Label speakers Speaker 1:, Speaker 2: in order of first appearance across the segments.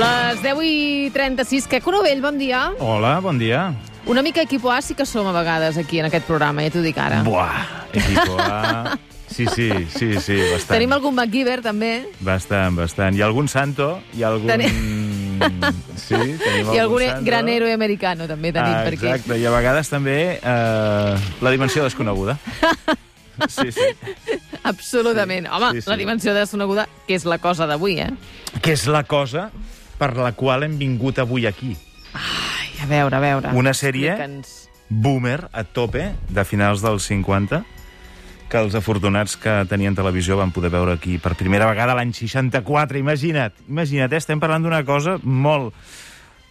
Speaker 1: Les 10 i 36. Queco Novell, bon dia.
Speaker 2: Hola, bon dia.
Speaker 1: Una mica equipo A sí que som a vegades aquí en aquest programa, ja t'ho dic ara.
Speaker 2: Buah, equipo A... Sí, sí, sí, sí, bastant.
Speaker 1: Tenim algun MacGyver, també.
Speaker 2: Bastant, bastant. Hi ha algun santo, hi ha algun... Sí, tenim
Speaker 1: I algun
Speaker 2: santo.
Speaker 1: gran héroe americano, també tenim
Speaker 2: ah,
Speaker 1: per aquí.
Speaker 2: Exacte, i a vegades també eh, la dimensió desconeguda. Sí, sí.
Speaker 1: Absolutament. Home,
Speaker 2: sí, sí.
Speaker 1: la dimensió desconeguda, que és la cosa d'avui, eh?
Speaker 2: Que és la cosa per la qual hem vingut avui aquí.
Speaker 1: Ai, a veure, a veure.
Speaker 2: Una sèrie
Speaker 1: Explica'ns.
Speaker 2: boomer a tope de finals dels 50 que els afortunats que tenien televisió van poder veure aquí per primera vegada l'any 64, imagina't, imagina't, eh? estem parlant d'una cosa molt,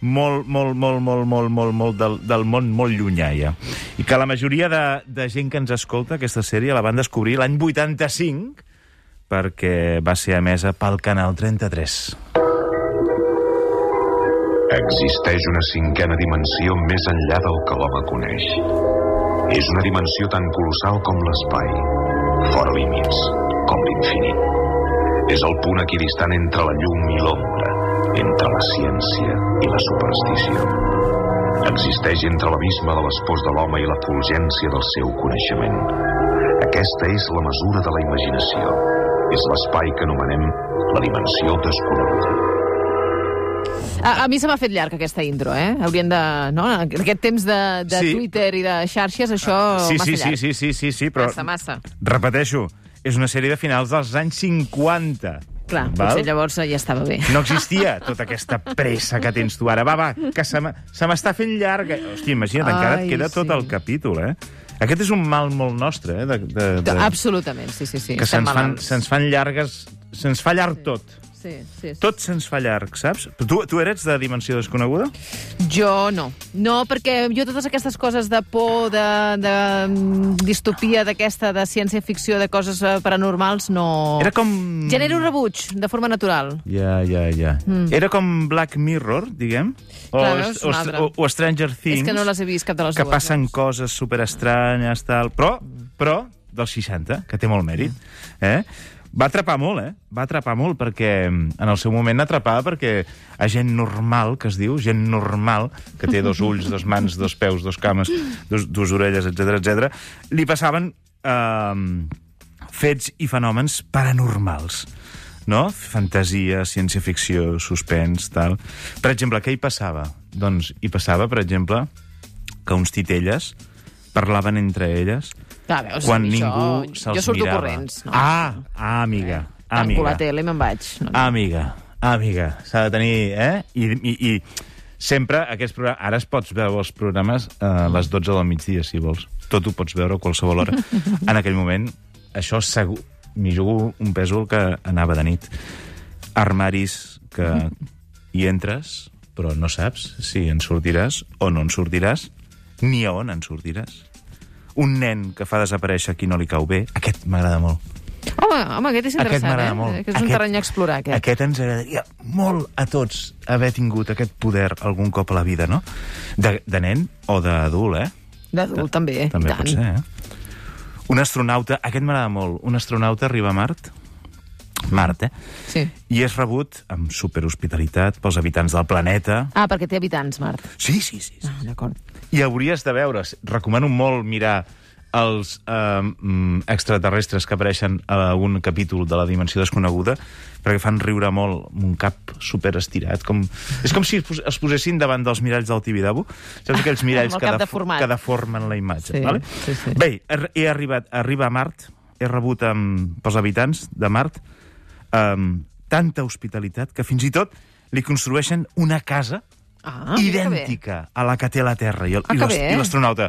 Speaker 2: molt, molt, molt, molt, molt, molt, molt del, del món molt llunyà, ja. I que la majoria de, de gent que ens escolta aquesta sèrie la van descobrir l'any 85 perquè va ser emesa pel Canal 33.
Speaker 3: Existeix una cinquena dimensió més enllà del que l'home coneix. És una dimensió tan colossal com l'espai, fora límits, com l'infinit. És el punt equidistant entre la llum i l'ombra, entre la ciència i la superstició. Existeix entre l'abisme de les pors de l'home i la fulgència del seu coneixement. Aquesta és la mesura de la imaginació. És l'espai que anomenem la dimensió desconeguda.
Speaker 1: A, a mi se m'ha fet llarg aquesta intro, eh? Hauríem de... No? En Aquest temps de, de
Speaker 2: Sí.
Speaker 1: Twitter i de xarxes, això
Speaker 2: Sí,
Speaker 1: Oh, massa
Speaker 2: sí, sí,
Speaker 1: llarg.
Speaker 2: sí, sí, sí, sí, però
Speaker 1: Massa, massa.
Speaker 2: repeteixo, és una sèrie de finals dels anys 50.
Speaker 1: Clar,
Speaker 2: val?
Speaker 1: potser llavors ja estava bé.
Speaker 2: No existia tota aquesta pressa que tens tu ara. Va, va, que se m- se m'està fent llarga. Hòstia, imagina't, encara
Speaker 1: Ai,
Speaker 2: et queda tot
Speaker 1: sí.
Speaker 2: el capítol, eh? Aquest és un mal molt nostre, eh? De, de,
Speaker 1: De...
Speaker 2: de,
Speaker 1: Absolutament, sí, sí, sí.
Speaker 2: que
Speaker 1: estem
Speaker 2: se'ns fan,
Speaker 1: malalts.
Speaker 2: se'ns fan llargues... Se'ns fa llarg tot.
Speaker 1: Sí, sí, sí.
Speaker 2: Tot se'ns fa llarg, saps? Però Tu, tu eres de dimensió desconeguda?
Speaker 1: Jo no. No, perquè jo totes aquestes coses de por, de, de mm, distopia d'aquesta, de ciència-ficció, de coses eh, paranormals, no...
Speaker 2: Era com...
Speaker 1: Genero rebuig, de forma natural.
Speaker 2: Ja, ja, ja. Mm. Era com Black Mirror, diguem? O,
Speaker 1: Clar, veus,
Speaker 2: o,
Speaker 1: una altra.
Speaker 2: o, o Stranger Things?
Speaker 1: És que no les he vist cap de les
Speaker 2: que
Speaker 1: dues.
Speaker 2: passen coses superestranyes, tal... Però, però, dels 60, que té molt mèrit,
Speaker 1: Mm.
Speaker 2: eh? Va atrapar molt, eh? Va atrapar molt, perquè en el seu moment atrapava perquè a gent normal, que es diu, gent normal, que té dos ulls, dos mans, dos peus, dos cames, dos, dos orelles, etc etc, li passaven eh, fets i fenòmens paranormals. No? Fantasia, ciència-ficció, suspens, tal... Per exemple, què hi passava? Doncs hi passava, per exemple, que uns titelles parlaven entre elles
Speaker 1: Clar, Ah, veus, a
Speaker 2: quan
Speaker 1: mi
Speaker 2: ningú
Speaker 1: això,
Speaker 2: se'ls
Speaker 1: Jo surto
Speaker 2: mirava.
Speaker 1: corrents. No?
Speaker 2: Ah, ah, amiga,
Speaker 1: Tanco la
Speaker 2: amiga,
Speaker 1: tele i me'n vaig. No, no.
Speaker 2: amiga, amiga. S'ha de tenir, eh? I, i, i sempre aquests programes... Ara es pots veure els programes eh, a les 12 del migdia, si vols. Tot ho pots veure a qualsevol hora. En aquell moment, això segur... M'hi jugo un pèsol que anava de nit. Armaris que hi entres, però no saps si en sortiràs o no en sortiràs, ni a on en sortiràs. Un nen que fa desaparèixer qui no li cau bé, aquest m'agrada molt.
Speaker 1: Home, home, aquest és
Speaker 2: Aquest
Speaker 1: interessant,
Speaker 2: m'agrada
Speaker 1: eh?
Speaker 2: molt.
Speaker 1: Aquest és un terreny a explorar, aquest.
Speaker 2: Aquest ens agradaria molt a tots haver tingut aquest poder algun cop a la vida, no? De, de nen o d'adult, eh?
Speaker 1: D'adult, també. i
Speaker 2: També
Speaker 1: tant.
Speaker 2: pot ser, eh? Un astronauta, aquest m'agrada molt, un astronauta arriba a Mart, Mart, eh?
Speaker 1: Sí.
Speaker 2: I és rebut amb superhospitalitat pels habitants del planeta.
Speaker 1: Ah, perquè té habitants, Mart.
Speaker 2: Sí, sí, sí. sí.
Speaker 1: Ah, D'acord.
Speaker 2: I hauries de veure, recomano molt mirar els eh, mm, extraterrestres que apareixen a un capítol de la dimensió desconeguda perquè fan riure molt amb un cap super estirat com... és com si es pos- es posessin davant dels miralls del Tibidabo saps aquells miralls
Speaker 1: Amb el
Speaker 2: que,
Speaker 1: cap
Speaker 2: defo-
Speaker 1: deformat.
Speaker 2: que deformen la imatge
Speaker 1: Sí,
Speaker 2: vale?
Speaker 1: sí, sí.
Speaker 2: bé, he, he arribat arriba a Mart he rebut amb, pels habitants de Mart um, tanta hospitalitat que fins i tot li construeixen una casa
Speaker 1: Ah, mira que bé.
Speaker 2: idèntica a la que té la Terra. I el-
Speaker 1: Ah, que
Speaker 2: i l'ast-
Speaker 1: bé.
Speaker 2: i l'astronauta...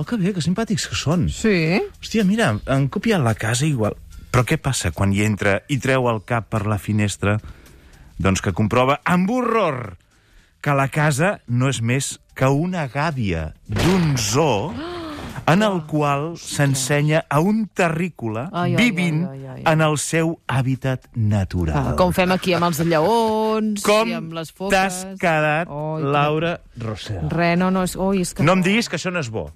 Speaker 2: Oh, que bé, que simpàtics que són.
Speaker 1: Sí.
Speaker 2: Hòstia, mira, han copiat la casa igual. Però què passa quan hi entra i treu el cap per la finestra? Doncs que comprova amb horror que la casa no és més que una gàbia d'un zoo
Speaker 1: Ah!
Speaker 2: en el qual s'ensenya a un terrícola
Speaker 1: Oh, Ai, ai,
Speaker 2: vivint
Speaker 1: ai, ai, ai, ai.
Speaker 2: en el seu hàbitat natural.
Speaker 1: Ah, com fem aquí amb els lleons i amb les
Speaker 2: Com
Speaker 1: foques.
Speaker 2: t'has quedat,
Speaker 1: Oi, que-
Speaker 2: Laura Rossell?
Speaker 1: Re, no, no, és... Ui, és que...
Speaker 2: No em diguis que això no és bo.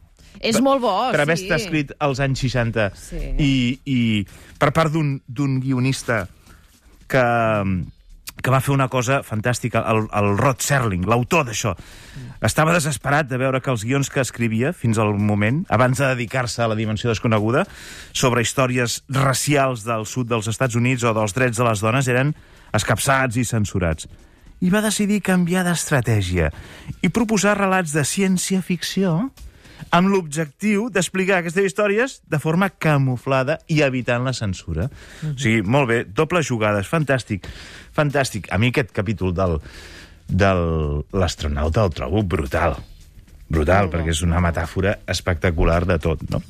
Speaker 1: És molt bo,
Speaker 2: per haver
Speaker 1: sí.
Speaker 2: estat escrit als anys 60
Speaker 1: Sí.
Speaker 2: i, i per part d'un d'un guionista que, que va fer una cosa fantàstica, el, el Rod Serling, l'autor d'això. Estava desesperat de veure que els guions que escrivia fins al moment, abans de dedicar-se a la dimensió desconeguda, sobre històries racials del sud dels Estats Units o dels drets de les dones, eren escapçats i censurats. I va decidir canviar d'estratègia i proposar relats de ciència-ficció amb l'objectiu d'explicar aquestes històries de forma camuflada i evitant la censura. Mm -hmm. O sigui, molt bé, doble jugada, és fantàstic. Fantàstic. A mi aquest capítol del del l'astronauta el trobo brutal. Brutal, perquè és una metàfora espectacular de tot, no?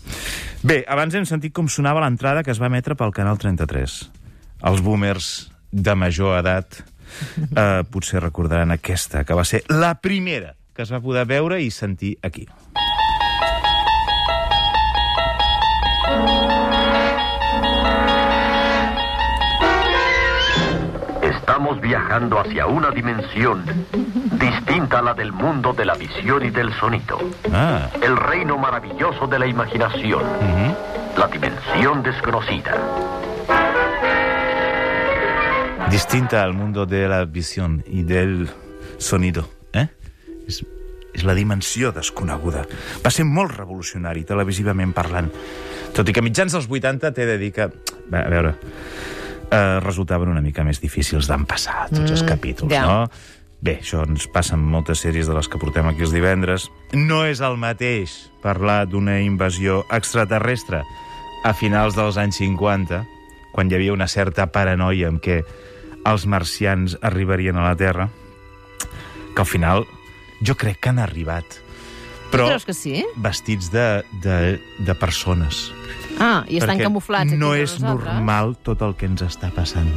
Speaker 2: Bé, abans hem sentit com sonava l'entrada que es va emetre pel Canal 33. Els boomers de major edat eh, potser recordaran aquesta, que va ser la primera que es va poder veure i sentir aquí.
Speaker 4: Estamos viajando hacia una dimensión distinta a la del mundo de la visión y del sonido.
Speaker 2: Ah,
Speaker 4: El reino maravilloso de la imaginación. La dimensión desconocida.
Speaker 2: distinta al mundo de la visión y del sonido, eh? És, és la dimensió desconeguda. Va ser molt revolucionari, televisivament parlant. Tot i que a mitjans dels 80 t'he de dir que... Va, a veure... Eh, resultaven una mica més difícils d'empassar tots els capítols,
Speaker 1: ja.
Speaker 2: no? Bé, això ens passa en moltes sèries de les que portem aquí els divendres. No és el mateix parlar d'una invasió extraterrestre a finals dels anys 50, quan hi havia una certa paranoia en què els marcians arribarien a la Terra, que al final jo crec que han arribat. Però
Speaker 1: Creus que sí?
Speaker 2: vestits de, de, de persones.
Speaker 1: Ah, i estan
Speaker 2: Perquè
Speaker 1: camuflats aquí
Speaker 2: No
Speaker 1: entre
Speaker 2: és
Speaker 1: nosaltres.
Speaker 2: normal tot el que ens està passant.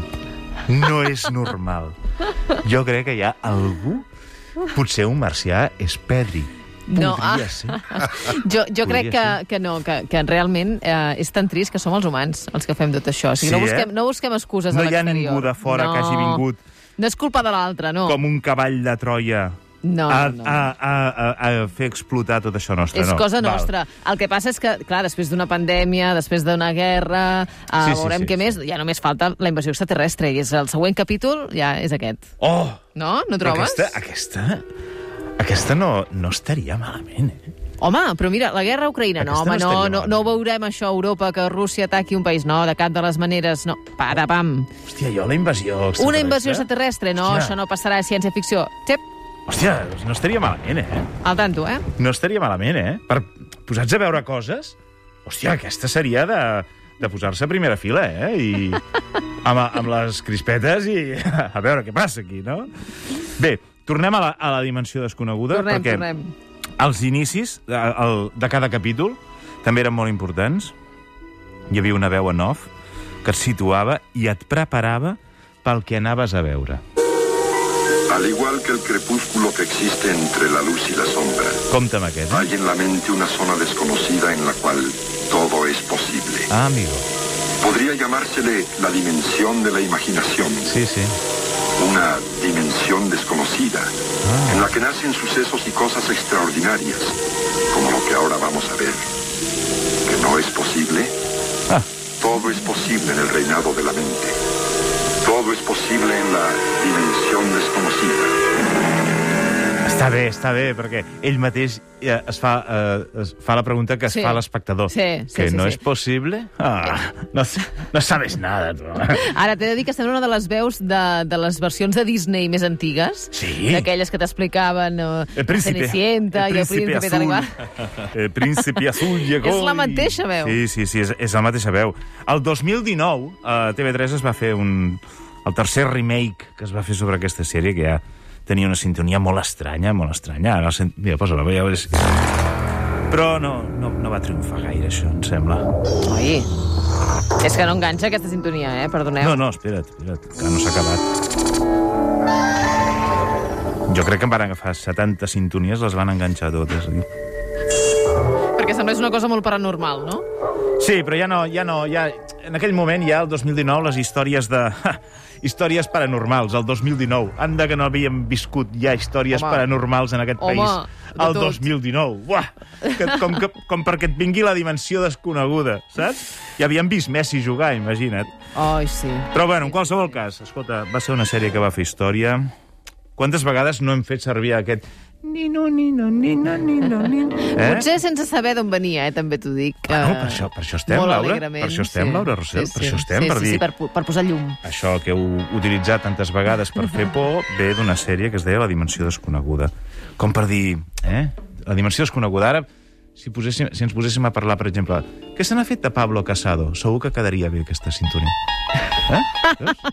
Speaker 2: No és normal. Jo crec que hi ha algú... Potser un marcià és pedri.
Speaker 1: No,
Speaker 2: Podria
Speaker 1: ah.
Speaker 2: ser.
Speaker 1: Jo, jo
Speaker 2: Podria
Speaker 1: crec que, que no, que, que realment eh, és tan trist que som els humans els que fem tot això. O sigui,
Speaker 2: Sí,
Speaker 1: no, busquem,
Speaker 2: eh?
Speaker 1: no busquem excuses
Speaker 2: No
Speaker 1: a
Speaker 2: hi ha
Speaker 1: l'exterior.
Speaker 2: ningú de fora
Speaker 1: no.
Speaker 2: que hagi vingut
Speaker 1: No és culpa de l'altre, no.
Speaker 2: com un cavall de Troia
Speaker 1: No,
Speaker 2: a,
Speaker 1: no, no.
Speaker 2: a, a, a, a fer explotar tot això nostre.
Speaker 1: És
Speaker 2: no.
Speaker 1: cosa
Speaker 2: Val.
Speaker 1: nostra. El que passa és que, clar, després d'una pandèmia, després d'una guerra, eh,
Speaker 2: Sí, sí,
Speaker 1: veurem
Speaker 2: sí,
Speaker 1: què
Speaker 2: sí.
Speaker 1: més, ja només falta la invasió extraterrestre, i és el següent capítol, ja és aquest.
Speaker 2: Oh!
Speaker 1: No? No
Speaker 2: Però
Speaker 1: trobes?
Speaker 2: aquesta, aquesta, aquesta no, no estaria malament, eh?
Speaker 1: Home, però mira, la guerra a Ucraïna, no, home, no,
Speaker 2: Aquesta no estaria
Speaker 1: no,
Speaker 2: malament.
Speaker 1: no veurem això a Europa, que Rússia ataqui un país, no, de cap de les maneres, no, para, pam.
Speaker 2: Hòstia, jo la invasió extraterrestre...
Speaker 1: Una invasió extraterrestre, no,
Speaker 2: eh? Hòstia.
Speaker 1: això no passarà, és ciència-ficció. Tep,
Speaker 2: Hòstia, no estaria malament, eh?
Speaker 1: al tanto, eh?
Speaker 2: No estaria malament, eh? Per posats a veure coses... Hòstia, aquesta seria de, de posar-se a primera fila, eh? I amb, amb les crispetes i a veure què passa aquí, no? Bé, tornem a la, a la dimensió desconeguda,
Speaker 1: Tornem,
Speaker 2: perquè
Speaker 1: tornem.
Speaker 2: els inicis de, el, de cada capítol també eren molt importants. Hi havia una veu en off que et situava i et preparava pel que anaves a veure.
Speaker 5: Al igual que el crepúsculo que existe entre la luz y la sombra,
Speaker 2: Compte amb aquest, eh?
Speaker 5: hay en la mente una zona desconocida en la cual todo es posible.
Speaker 2: Ah, amigo.
Speaker 5: Podría llamársele la dimensión de la imaginación,
Speaker 2: Sí, sí.
Speaker 5: una dimensión desconocida,
Speaker 2: Ah.
Speaker 5: en la que nacen sucesos y cosas extraordinarias, como lo que ahora vamos a ver. ¿Que no es posible?
Speaker 2: Ah.
Speaker 5: Todo es posible en el reinado de la mente. Todo es posible en la dimensión desconocida.
Speaker 2: Està bé, està bé, perquè ell mateix eh, es fa, eh, es fa la pregunta que es
Speaker 1: Sí.
Speaker 2: sí. fa l'espectador.
Speaker 1: Sí, sí,
Speaker 2: que
Speaker 1: sí,
Speaker 2: no
Speaker 1: sí.
Speaker 2: és possible? Ah, no, no sabes nada, tu.
Speaker 1: Ara, t'he de dir que estem en una de les veus de, de les versions de Disney més antigues.
Speaker 2: Sí.
Speaker 1: D'aquelles que t'explicaven... eh,
Speaker 2: El príncipe.
Speaker 1: Cenicienta i el príncipe tal i qual.
Speaker 2: azul. El príncipe azul llegó.
Speaker 1: És la
Speaker 2: i-
Speaker 1: mateixa veu.
Speaker 2: Sí, sí, sí, és, és la mateixa veu. El 2019, a TV3 es va fer un, el tercer remake que es va fer sobre aquesta sèrie, que ja tenia una sintonia molt estranya, molt estranya. Ara, la sent- mira, posa-la, ja veuràs. Però no, no, no va triomfar gaire, això, em sembla.
Speaker 1: Oi, és que no enganxa aquesta sintonia, eh? Perdoneu.
Speaker 2: No, no, espera't, espera't, que no s'ha acabat. Jo crec que em van agafar 70 sintonies, les van enganxar totes. eh?
Speaker 1: Perquè sembla que és una cosa molt paranormal, no?
Speaker 2: Sí, però ja no, ja no, ja... En aquell moment, ja el 2019, les històries de... Ja, històries paranormals, el 2019. Anda que no havíem viscut ja històries
Speaker 1: Home.
Speaker 2: Home. paranormals en aquest
Speaker 1: Home,
Speaker 2: país.
Speaker 1: de
Speaker 2: El
Speaker 1: tot.
Speaker 2: 2019. Buah! Que, com, que, com perquè et vingui la dimensió desconeguda, saps? Ja havíem vist Messi jugar, imagina't.
Speaker 1: Ai, sí.
Speaker 2: Però, bueno, en qualsevol cas, escolta, va ser una sèrie que va fer història. Quantes vegades no hem fet servir aquest... Nino, nino, nino, nino, nino...
Speaker 1: Eh? Potser sense saber d'on venia, eh? també t'ho dic.
Speaker 2: Ah, no,
Speaker 1: eh,
Speaker 2: per això- per això estem,
Speaker 1: molt
Speaker 2: Laura.
Speaker 1: alegrement,
Speaker 2: Per això estem, Laura Rossell, per això estem,
Speaker 1: sí,
Speaker 2: per
Speaker 1: sí,
Speaker 2: dir-
Speaker 1: Sí, per, pu- per posar llum.
Speaker 2: Això que heu utilitzat tantes vegades per fer por ve d'una sèrie que es deia La dimensió desconeguda. Com per dir, eh? La dimensió desconeguda. Ara, si, poséssim, si ens poséssim a parlar, per exemple, què se n'ha fet de Pablo Casado? Segur que quedaria bé aquesta sintonia. Eh? Veus?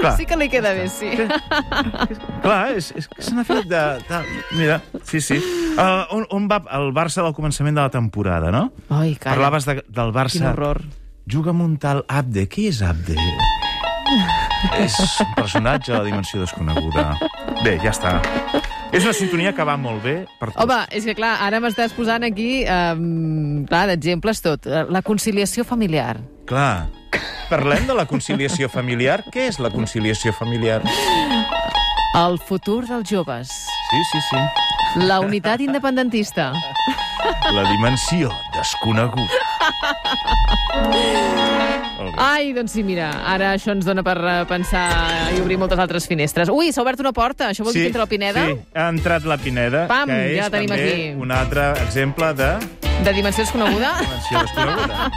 Speaker 2: Clar,
Speaker 1: Sí que li queda bé, sí.
Speaker 2: clar és, és que se n'ha fet de, de... Mira, sí, sí. Uh, on, on va el Barça del començament de la temporada, no?
Speaker 1: Ai, calla.
Speaker 2: Parlaves de, del Barça...
Speaker 1: Quin horror.
Speaker 2: Juga amb un tal Abde. Qui és Abde? és un personatge de la dimensió desconeguda. Bé, ja està. És una sintonia que va molt bé per tots.
Speaker 1: Home, és que clar, ara m'estàs posant aquí, um, clar, d'exemples tot. La conciliació familiar.
Speaker 2: Clar. Parlem de la conciliació familiar. Què és la conciliació familiar?
Speaker 1: El futur dels joves.
Speaker 2: Sí, sí, sí.
Speaker 1: La unitat independentista.
Speaker 2: La dimensió desconeguda. Molt bé.
Speaker 1: Ai, doncs sí, mira, ara això ens dona per eh, pensar i obrir moltes altres finestres. Ui, s'ha obert una porta, això vol dir que entra la Pineda?
Speaker 2: Sí, ha entrat la Pineda,
Speaker 1: Pam,
Speaker 2: que és
Speaker 1: ja la tenim
Speaker 2: també
Speaker 1: aquí.
Speaker 2: un altre exemple de
Speaker 1: De dimensió desconeguda?
Speaker 2: dimensió desconeguda.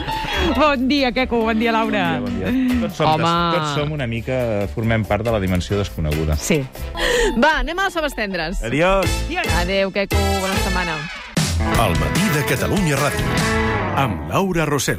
Speaker 6: Bon dia, Queco. Bon dia, Laura.
Speaker 2: Bon dia, bon dia. Tots som,
Speaker 1: Home.
Speaker 2: des, tots som una mica... Formem part de la dimensió desconeguda.
Speaker 6: Sí.
Speaker 1: Va, anem a les faves tendres.
Speaker 2: Adiós!
Speaker 1: Adéu, Queco, bona setmana.
Speaker 7: Al matí de Catalunya Ràdio.
Speaker 8: Amb Laura Rossell.